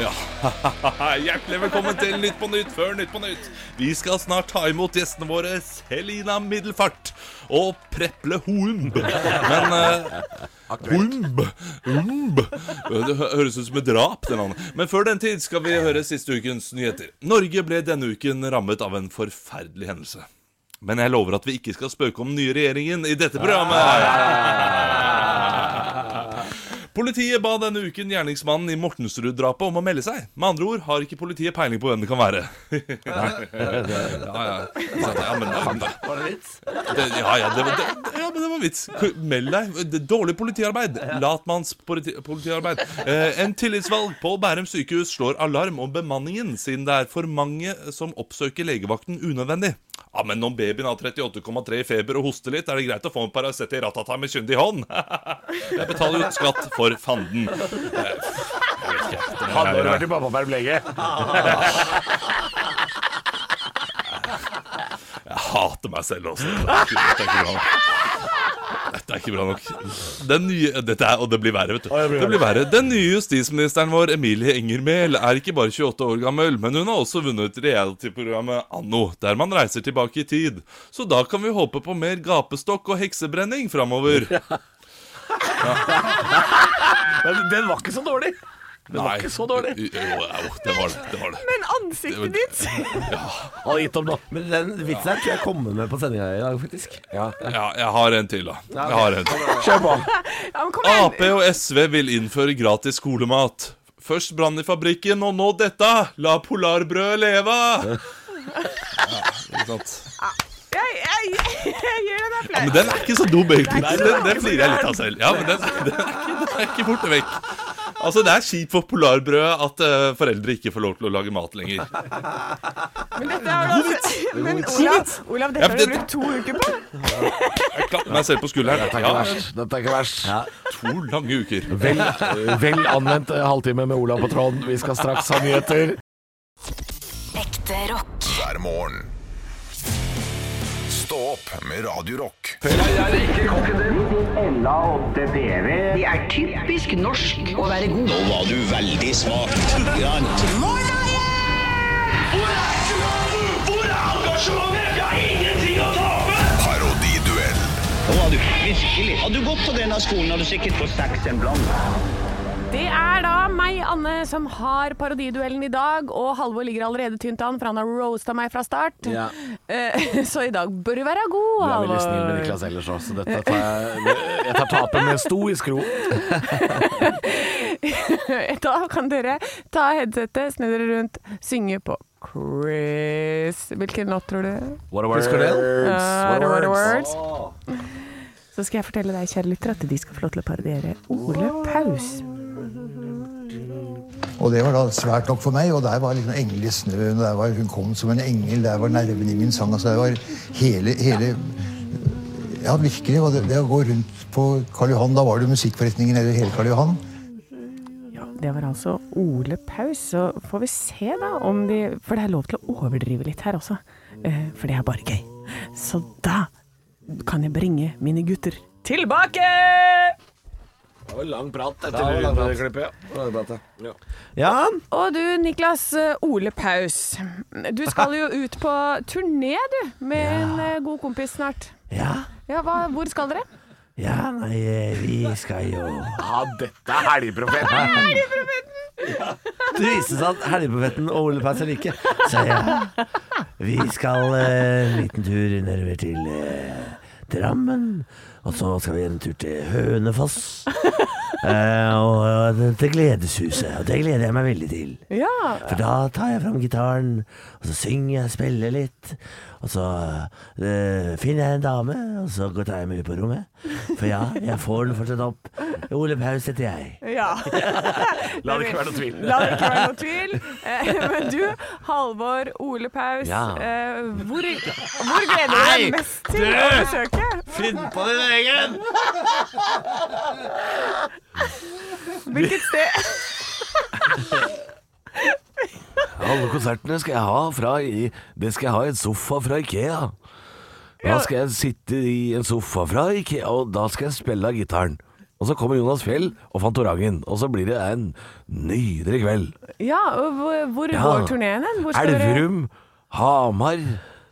Ja. Hjertelig velkommen til Nytt på Nytt før Nytt på Nytt. Vi skal snart ta imot gjestene våre Selina Middelfart og Preple Houmb. Men eh, Houmb Houmb Det hø- høres ut som et drap, det navnet. Men før den tid skal vi høre siste ukens nyheter. Norge ble denne uken rammet av en forferdelig hendelse. Men jeg lover at vi ikke skal spøke om den nye regjeringen i dette programmet. Politiet ba denne uken gjerningsmannen i Mortensrud-drapet om å melde seg. Med andre ord har ikke politiet peiling på hvem det kan være. ja, ja. Ja, men, da-
Var det vits?
det, ja, ja, det, var- det, ja, men det var vits. Meld deg. Det er Dårlig politiarbeid. Latmanns politi politiarbeid. Eh, en tillitsvalgt på Bærum sykehus slår alarm om bemanningen, siden det er for mange som oppsøker legevakten unødvendig. Ja, men om babyen har 38,3 i feber og hoster litt, er det greit å få en Paracet i ratata med kyndig hånd. Jeg betaler jo skatt for fanden. Eh, jeg vet ikke. Den
Hadde
her-
du vært i pappaperm lenge?
Jeg hater meg selv også. Dette er ikke bra nok. Dette er ikke bra nok. Den nye, dette er, og det blir verre, vet du. Det blir verre. Den nye justisministeren vår, Emilie Enger Mehl, er ikke bare 28 år gammel, men hun har også vunnet reality-programmet Anno, der man reiser tilbake i tid. Så da kan vi håpe på mer gapestokk og heksebrenning framover.
Men den var ikke så dårlig. Den var ikke så dårlig.
Jo, jo, det var det. det, var det.
Men ansiktet ditt
Hadde gitt opp nå.
Men den vitsen her tror jeg kommer med på sendinga i dag, faktisk.
Ja, jeg har en til, da. Jeg har en til.
Kjør på.
ja, men Kom
Ap
igjen.
og SV vil innføre gratis skolemat. Først brann i fabrikken, og nå dette! La polarbrødet leve! Ja, ikke sant.
Jeg, jeg, jeg, jeg gjør en applaus.
Men den er ikke så dum, egentlig. Den, den flirer jeg litt av selv. Ja, men den, den, er, ikke, den er ikke borte vekk. Altså, Det er kjipt for polarbrødet at eh, foreldre ikke får lov til å lage mat lenger.
Men dette er jo altså, men Olav, Olav, dette
Ja,
har
men
du
det-
brukt to uker på.
Jeg klapper meg selv på skulderen.
Dette er ikke
Ja,
verst. Dette er ikke verst.
to lange uker.
Vel, vel anvendt eh, halvtime med Olav på tråden. Vi skal straks ha nyheter.
Ekte rock.
hver morgen. Stå opp med Radio Rock.
Det er typisk norsk å være god. Nå var du veldig smak.
Parodiduell
Nå var du virkelig. Hadde du gått på denne skolen, hadde du sikkert fått seks en blant.
Det er da meg, Anne, som har parodiduellen i dag. Og Halvor ligger allerede tynt an, for han har roasta meg fra start.
Ja.
Eh, Så i dag bør du være god,
Du er
Halvor.
veldig snill med Niklas ellers òg, så dette tar jeg Jeg tar tapet med stoisk ro.
Da kan dere ta headsetet, snu dere rundt, synge på quiz. Hvilken låt tror du?
What a
Husker du den?
Ja, Ah, det var
Uh, What a words.
words. Ah. Så skal jeg fortelle deg, kjære lytter, at de skal få lov til å parodiere Ole Paus.
Og det var da svært nok for meg, og der var liksom engel i snøen, og der var hun kom som en engel, der var nervene i min sang, altså der var hele, hele Ja, virkelig, og det, det å gå rundt på Karl Johan, da var det musikkforretninger nede i hele Karl Johan.
Ja, det var altså Ole Paus. Så får vi se da om de For det er lov til å overdrive litt her også. Eh, For det er bare gøy. Så da kan jeg bringe mine gutter tilbake!
Det var lang prat
det var lang prat. Ja,
Og du, Niklas eh, Ole Paus. Du skal jo ut på turné, du, med en eh, god kompis snart.
ja,
Ja, hva, hvor skal dere?
ja, nei, eh, vi skal jo
Ja, dette er helgeprofeten.
Det viste seg at Helgeprofeten og Ole Paus er like. Så ja, vi skal eh, en liten tur nedover til eh, Drammen. Og så skal vi en tur til Hønefoss. Eh, og, og til Gledeshuset. Og det gleder jeg meg veldig til.
Ja,
For da tar jeg fram gitaren, og så synger jeg, spiller litt. Og så eh, finner jeg en dame, og så går tar jeg med ut på rommet. For ja, jeg får den fortsatt opp. Ole Paus heter jeg.
Ja.
La det ikke være noe tvil.
La det ikke være noe tvil. Eh, Men du, Halvor Ole Paus,
Ja.
eh, hvor, hvor gleder du deg mest til å besøke?
Finn på din egen!
Hvilket sted?
Alle konsertene skal jeg ha fra i, Det skal jeg ha i en sofa fra Ikea. Da skal jeg sitte i en sofa fra Ikea, og da skal jeg spille av gitaren. Og så kommer Jonas Fjell og Fantorangen, og så blir det en nydelig kveld.
Ja, og hvor, hvor
Ja.
går turneen hen? Hvor skal dere-
Elverum, Hamar,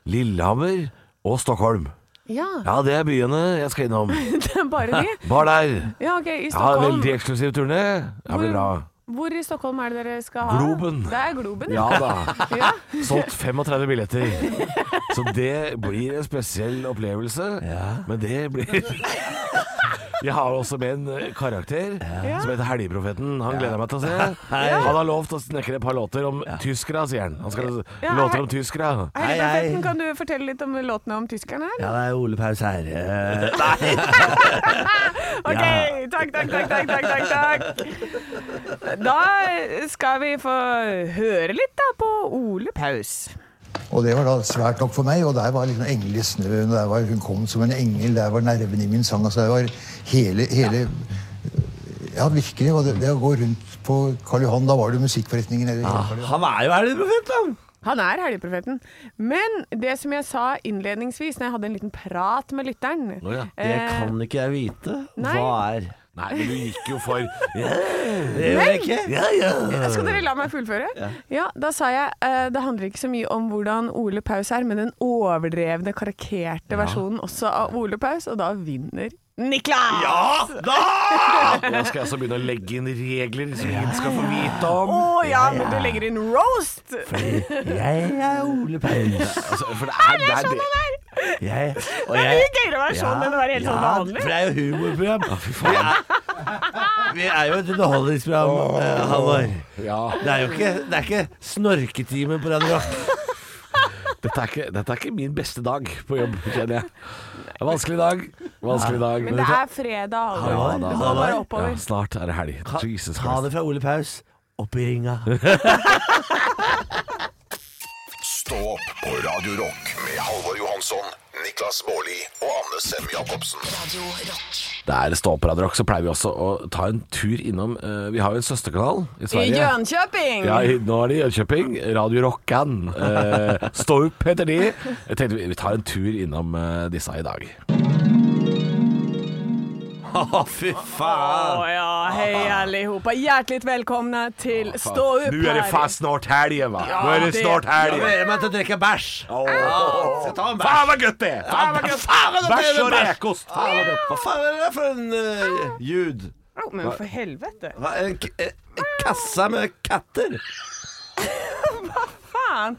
Lillehammer og Stockholm.
Ja,
Ja, det er byene jeg skal innom.
det er bare de.
Bar der.
Ja, ok, i
Ja,
Stockholm.
veldig eksklusiv turné. Det blir bra.
Hvor i Stockholm er det dere skal ha?
Globen.
Det er Globen,
Ja da.
ja.
Solgt 35 billetter. Så det blir en spesiell opplevelse. Men det blir Jeg har også med en eh, karakter som heter Helgeprofeten. Han gleder jeg meg til å se. Han har lovt å snekre et par låter om tyskere, sier han. Han skal
Ja,
Låter
hei.
om tyskere.
Hei,
Hei, hei.
Profeten, kan du fortelle litt om låtene om tyskerne her?
Ja, det er Ole Paus her. Eh, nei.
Ok, takk, takk, takk, takk, takk, takk, takk. Da skal vi få høre litt da på Ole Paus.
Og det var da svært nok for meg, og der var liksom engel i snøen, og der var hun kom som en engel, der var nervene i min sang, altså der var hele, hele Ja, virkelig, og det, det å gå rundt på Karl Johan, da var det musikkforretninger nede i hele Karl
Han
Johan.
er jo helgeprofet, han.
Han er helgeprofeten. Men det som jeg sa innledningsvis når jeg hadde en liten prat med lytteren
Å ja.
Det kan ikke jeg vite.
Eh, nei.
Hva er
Nei, men du gikk jo for
Det gjør jeg ikke. Ja, ja.
Skal dere la meg fullføre? Ja. Da sa jeg eh, det handler ikke så mye om hvordan Ole Paus er, men den overdrevne, karikerte versjonen også av Ole Paus, og da vinner Niklas!
Nå skal jeg også begynne å legge inn regler som ingen skal få vite
Å
om.
ja, men du legger inn roast!
Jeg er Ole Paus.
Altså, for det er, det er det.
Jeg, og
Det er
jeg
mye gøyere å være sånn enn å være helt sånn vanlig.
for det er jo humorprogram. Vi er, vi er jo et underholdningsprogram, eh, Halvor.
Ja.
Det er jo ikke, det er ikke snorketimen på Radio Rock.
Dette er, ikke, dette er ikke min beste dag på jobb, kjenner jeg. Det er vanskelig dag. Vanskelig dag.
Men det er fredag,
Ja,
Halvor.
da.
Du må bare oppover.
Ja, snart er det helg. Jesus
Ta
Christ.
det fra Ole Paus. Opp i ringa.
Stå opp på Radio Rock med Halvor Johansson, Niklas Baarli og Anne Sem Jacobsen.
Radio Rock.
Det er ståpradrock, så pleier vi også å ta en tur innom eh, Vi har jo en søsterkanal i
I
Sverige.
Jönköping!
Ja, i- nå er det Jönköping. Radio Rockan. Eh, stå opp heter de. Jeg tenkte vi- vi tar en tur innom eh, disse i dag.
Å, fy
Å
faen!
ja, hei allihopa. Hjertelig velkomna til Stå opp her.
Nå er det faen snart helg, va?
Ja,
Nå er det
det-
snart
Jeg
helg.
gleder meg til å drikke bæsj. Skal jeg ta en bæsj?
Faen, hva godt det er! Faen, hva godt- Bæsj og rekost.
Faen, hva godt. Hva faen er det der for en eh, ljud?
Au, Men for helvete.
Hva, en, k- en, en kasse med katter?
Faen.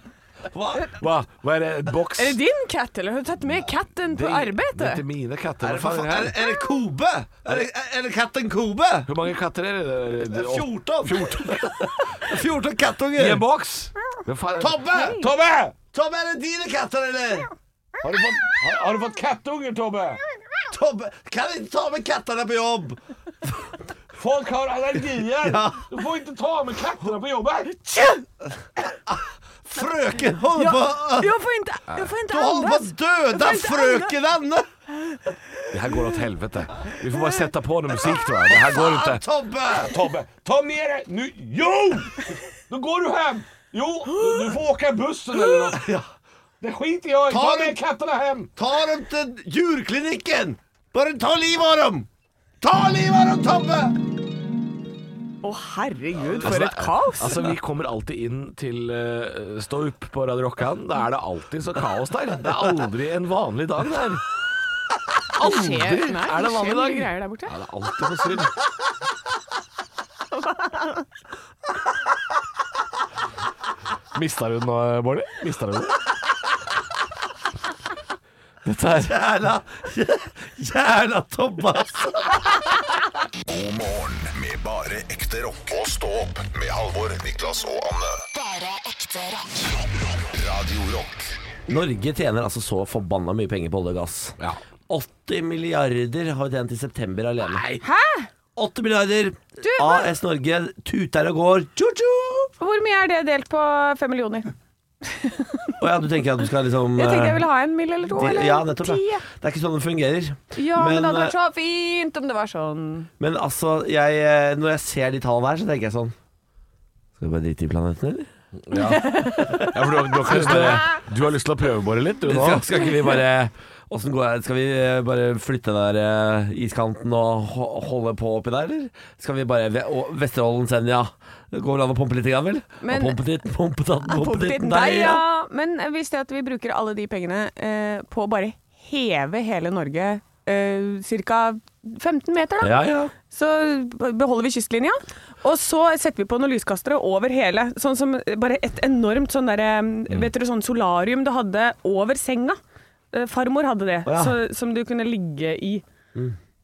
Hva?
Hva, hva er det? En boks?
Er det din katt, eller har du tatt med katten på
Det er ikke
arbeidet?
mine katter. Hva
Er det, for
faen
faen,
er
er,
det?
det- er det Kobe? Er det, er det katten Kobe?
Hvor mange katter er det?
Det er 14.
14.
14
I en
kattunger.
boks? Hva faen?
Tobbe!
Tobbe!
Tobbe, er det dine katter, eller?
Har du fått, har, har du fått kattunger, Tobbe?
Tobbe, kan vi ikke ta med kattene på jobb?
Folk har allergier! Du får ikke ta med kattene på jobben!
Frøken holder på
Jag, jag får inte, jag får inte
Du holder på å
andas. Jeg
døde
får ikke
frøken Anne!
Det här går åt helvete. Vi får bara sätta på noe musik tror jag. Det här går
Faen,
inte.
Tobbe!
Tobbe, ta med dig nu. Jo! Då går du hem. Jo, du får åka bussen eller något. Det skiter jag i.
Ta med
katterna hem.
Ta dem til djurklinikken! Bare ta livet av dem! Ta livet av dem, Tobbe!
Å herregud,
Altså,
for et kaos.
Alltså vi kommer alltid in till uh, stå upp på Radio Rockan. Där är det alltid så kaos där. Det är aldrig en vanlig dag där.
Skjer-
Aldrig
nei,
är det en vanlig
skjer mye
dag.
greier der borte.
Ja, det er alltid noe surr. Mista du den nå, Bårdli? Mista du den? Dette er
Jævla, jævla Tobbe, ass.
God morgen med bare ekte rock. Og stå opp med Halvor, Niklas og Anne.
Bare ekte rock.
Radio Rock
Norge tjener altså så forbanna mye penger på olje og gass.
Ja.
80 milliarder har vi tjent i september alene. Hæ? 80 milliarder.
hva-
AS Norge tuter og går. Tjo-tjo!
Hvor mye er det delt på fem millioner?
Å ja, du tenker at du skal liksom
Jeg tenkte
eh,
jeg ville ha en mill eller to,
de-
eller
ja, nettopp,
ti.
ja. Det er ikke sånn det fungerer.
Ja, men, det hadde
eh,
vært så fint om det var sånn.
Men altså, jeg, eh, når jeg ser de tallene her, så tenker jeg sånn Skal vi bare drite i planeten, eller?
for du, du, har ikke lyst til, å- du har lyst til å prøvebore litt, du nå?
Skal, skal ikke vi bare Åssen går det? Skal vi eh, bare flytte den der eh, iskanten og ho- holde på oppi der, eller? Skal vi bare ve og Vesterålen, Senja Det Går vel an å pumpe litt, grann, vel?
Men-
Og pumpe dit, pumpe datt, pumpe dit,
Poppetitten
der,
der, ja. Men hvis det at vi bruker alle de pengene eh, på å bare heve hele Norge eh, ca. 15 meter, da.
Ja, ja.
Så beholder vi kystlinja, og så setter vi på noen lyskastere over hele. Sånn som bare et enormt sånn derre
Mm.
Vet dere sånn solarium du hadde over senga? Eh, Farmor hadde det,
ja. Mm.
så, som du kunne ligge i.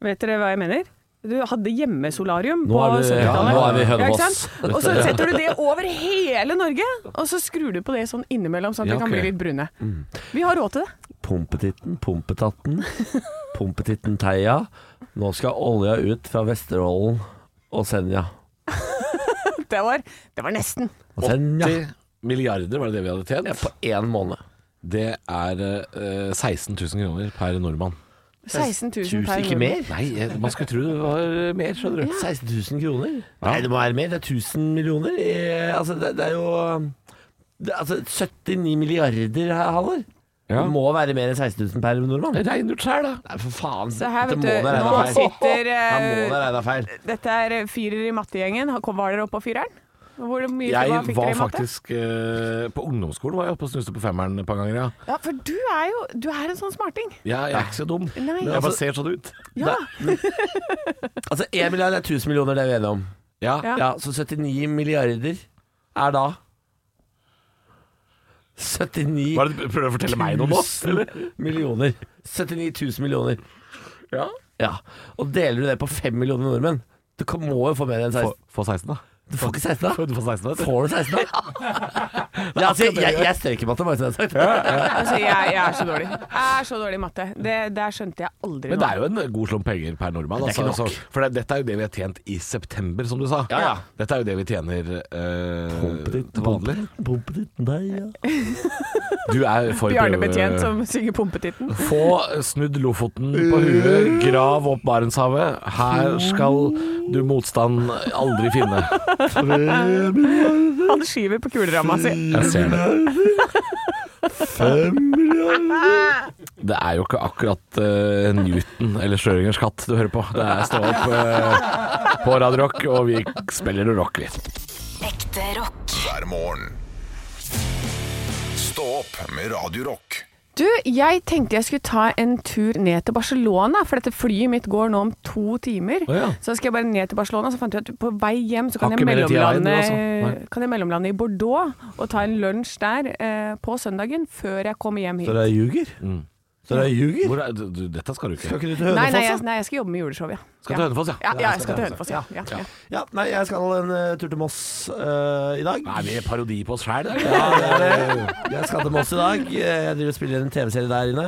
Vet dere hva jeg mener? Du hadde hjemmesolarium
Nå
på
er vi- ja,
70-tallet.
nå er vi i Hønefoss.
ikke sant? Og så setter du det over hele Norge, og så skrur du på det sånn innimellom, sånn at
Ja,
vi
ok.
kan bli litt brune.
Mm.
Vi har råd til det.
Pumpetitten, pumpetatten, pumpetitten Teia. Nå skal olja ut fra Vesterålen og Senja.
Det var, det var nesten.
Og Senja
80 milliarder var det det vi hadde tjent.
på én måned.
Det er eh, 16 000 kroner per nordmann.
16 000 per
Ikke
nordmann.
mer?
Nei, eh, man skulle tro det var mer, skjønner du.
16 000 kroner? Nei, det må være mer. Det er 1000 millioner. Eh, altså, det, det er jo det, altså, 79 milliarder her, Halvor.
Ja.
Det må være mer enn 16 000 per nordmann.
Regn ut sjæl, da.
Nei, for faen.
Se her, vet
Dette
du.
må det regne
Nå
feil.
sitter
Her må
eh,
det regne feil.
Dette er eh, firer i mattegjengen. Har- Var dere oppe på fireren? Hvor mye hva
Jeg
fikk
var
dere i matte?
faktisk eh, På ungdomsskolen var jeg oppe og snuste på femmeren et par ganger, ja.
Ja, for du er jo du er en sånn smarting.
Jeg, jeg er ikke så dum.
Nei. altså-
Men jeg bare ser sånn ut.
Ja.
Altså, 1 milliard er 1000 millioner, det er vi enige om.
Ja.
Ja.
Ja, Så 79 milliarder er da 79
Hva er det, du prøver du å fortelle meg noe nå?
000 millioner. 79 000 millioner.
Ja.
Ja. Og deler du det på 5 millioner nordmenn, du kan, må jo få mer enn 16
Få 16, da.
Du får ikke 16, da?
Du får 16, vet du.
Får du 16, da? Ja, altså, jeg, jeg, jeg strøk i matte, bare så det er sagt.
Altså, jeg, jeg er så dårlig. Jeg er så dårlig i matte. Det der skjønte jeg aldri
Men det er jo en god slump penger per nordmann.
Det er ikke
altså,
nok.
så- for det, dette er jo det vi har tjent i september, som du sa.
Ja, ja.
Dette er jo det vi tjener eh, til vanlig.
Pumpetitt, nei, ja.
Du er for
Bjarne
prøve-
Betjent som synger Pumpetitten.
Få snudd Lofoten på huet, grav opp Barentshavet. Her skal du motstand aldri finne.
Han skyver på kuleramma si.
Jeg ser det. Det er jo ikke akkurat eh, Newton eller Schjøringers katt du hører på. Det er Stå opp eh, på Radio Rock, og vi spiller noe rock, vi.
Ekte rock.
hver morgen. Stå opp med Radio Rock.
Du, jeg tenkte jeg skulle ta en tur ned til Barcelona, for dette flyet mitt går nå om to timer.
Å ja.
Så skal jeg bare ned til Barcelona, så fant jeg ut at på vei hjem så kan
Har
jeg,
ikke mer tid igjen,
mellomlande,
du, altså. Nei.
kan jeg mellomlande i Bordeaux og ta en lunsj der eh, på søndagen før jeg kommer hjem hit.
Så det er ljuger? Så det er ljuger?
Mm. Hvor er, du, du, dette skal du ikke.
Skal ikke du til
Nei, nei,
Hønefoss,
jeg,
da?
nei, jeg skal jobbe med juleshow, ja.
Skal til Hønefoss,
Ja,
ja.
ja, jeg skal til Hønefoss, ja. ja, ja.
Ja, nei, jeg skal en eh, tur til Moss eh, i dag.
Er vi parodi på oss sjæl?
Ja, det er det. Eh, Jeg skal til Moss i dag. Eh, Jeg driver og spiller en TV-serie der inne.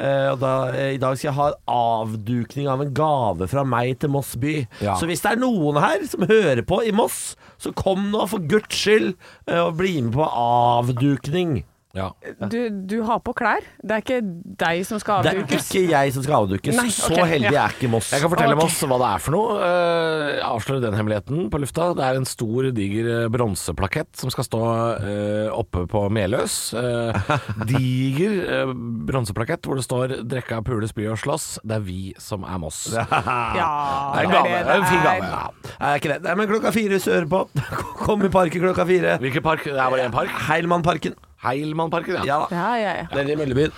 Eh, Og da, eh, I dag skal jeg ha en avdukning av en gave fra meg til Moss by.
Ja.
Så hvis det er noen her som hører på i Moss, så kom nå for guds skyld eh, og bli med på avdukning.
Ja.
Du, du har på klær. Det er ikke deg som skal
Det er
avdukes.
ikke jeg som skal avdukes.
Nei,
Så
ok,
heldig
ja.
er ikke Moss.
Jeg kan fortelle
Ok.
Moss hva det er for noe. Eh, Jeg avslører den hemmeligheten på lufta. Det er en stor, diger eh, bronseplakett som skal stå eh, oppe på Meløs. Eh, diger eh, bronseplakett hvor det står 'Drekka, pule, spy og slåss'. Det er vi som er Moss. Det
Ja,
er en
det er
gave.
det
En fin
er.
gave. Ja.
Er ikke det. Nei, men klokka fire sør på. Kom i parken klokka fire.
Hvilken park? Det er bare én park.
Heilmannparken.
Heilmannparken, ja.
Ja da.
Ja, ja, ja.
Nede i Møllebyen.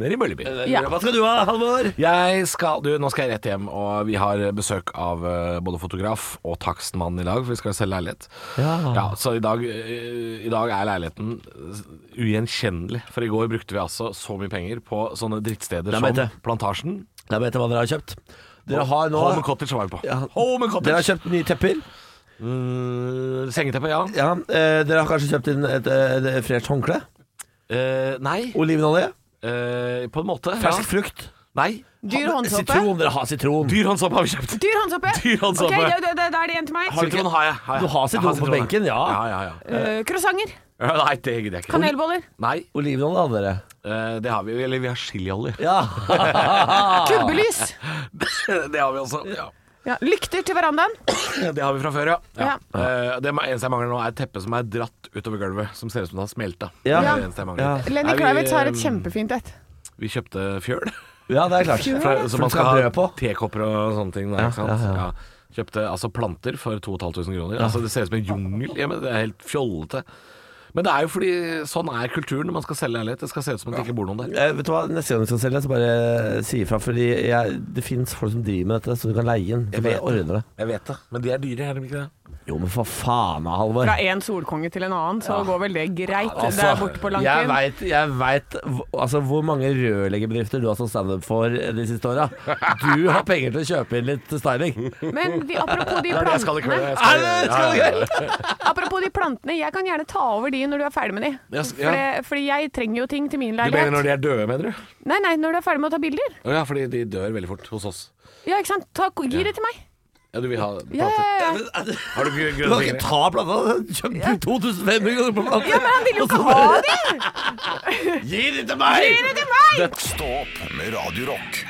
Nede i Møllebyen.
Ja.
Hva skal du ha, Halvor?
Jeg skal, du, nå skal jeg rett hjem, og vi har besøk av eh, både fotograf og takstmann i dag, for vi skal selge leilighet. Ja, så i dag, eh, i dag er leiligheten eh, ugjenkjennelig, for i går brukte vi altså så mye penger på sånne drittsteder
Da
som
vet jeg.
Plantasjen.
Da vet jeg hva dere har kjøpt. Dere har nå
Home Cottage var vi på.
Ja.
Home Cottage!
Dere har kjøpt nye tepper.
Mm, sengeteppe, ja.
Ja, eh, dere har kanskje kjøpt inn et, et, et fresht håndkle.
Eh, nei,
Olivenolje.
eh, på en måte. Ja.
Fersk frukt.
Nei.
Dyr håndsoppe.
Sitron. Dere har sitron.
Dyr håndsoppe har vi kjøpt.
Dyr håndsoppe!
Dyr håndsoppe.
Ok, da, da, da, da er det en til meg.
Har du ikke-
Sitron har jeg. jeg.
Du har
Jeg
sitron på
ja.
benken, ja.
Ja, ja, ja.
Eh, Croissanter.
Eh, Nei, det gidder jeg ikke.
Kanelboller.
Nei,
Olivenolje hadde dere.
eh, det har vi jo. Eller vi har chiliolje.
Ja.
Ah. Kubbelys.
Det har vi også. Ja.
Ja, lykter til verandaen.
Det har vi fra før, ja.
Ja.
Eh, Det eneste jeg mangler nå, er et teppe som er dratt utover gulvet. Som ser ut som det har smelta. Det
Ja.
er det eneste jeg mangler.
Ja.
Lenny
Nei, vi,
Kravitz har et
eh,
kjempefint et.
Vi kjøpte fjøl.
ja, det er klart.
fra-
For
Som man skal
det skal ha
ha
brød på.
tekopper og sånne ting. Der, ikke sant?
ja,
Ja,
ja.
Kjøpte altså planter for 2500 kroner. Altså, det ser ut som en jungel. Ja, men det er helt fjollete. Men det er jo fordi sånn er kulturen når man skal selge leilighet. Det skal se ut som at det ikke bor noen der.
Eh, vet du hva, Neste gang du skal selge, så bare si ifra. Fordi jeg, det fins folk som driver med dette, så du kan leie inn. Jeg
vet
ordner det.
Jeg vet det, men de er dyre, er de ikke det?
Jo, men for faen da, Halvor.
Fra en solkonge til en annen, så går vel det greit. det er borte på
Altså, jeg
Langfinn.
vet, jeg vet hv- altså, hvor mange rørleggerbedrifter du har stått standup for de siste åra. Du har penger til å kjøpe inn litt styling.
Men de, apropos, de
Nei, jeg skal ikke
plantene,
jeg skal- Ja, ja, ja.
apropos de plantene, jeg kan gjerne ta over de når du er ferdig med de.
Jeg skal- ja.
Fordi, fordi jeg trenger jo ting til min
Du mener når
leilighet.
de er døde, mener du?
Nei, nei, når du er ferdig med å ta bilder.
Å Ja, fordi de dør veldig fort hos oss.
Ja, ikke sant. Ta, gi det til meg.
Ja, du vil ha planter?
Ja, ja, ja.
Har du gr- grønne
Du kan altså, ikke
fingre?
ta plata! Kjøpte 2500 kroner på plata!
ja, men han vil jo ikke ha de!
Gi det til meg!
Gi det til meg!
Stå opp med Radio Rock.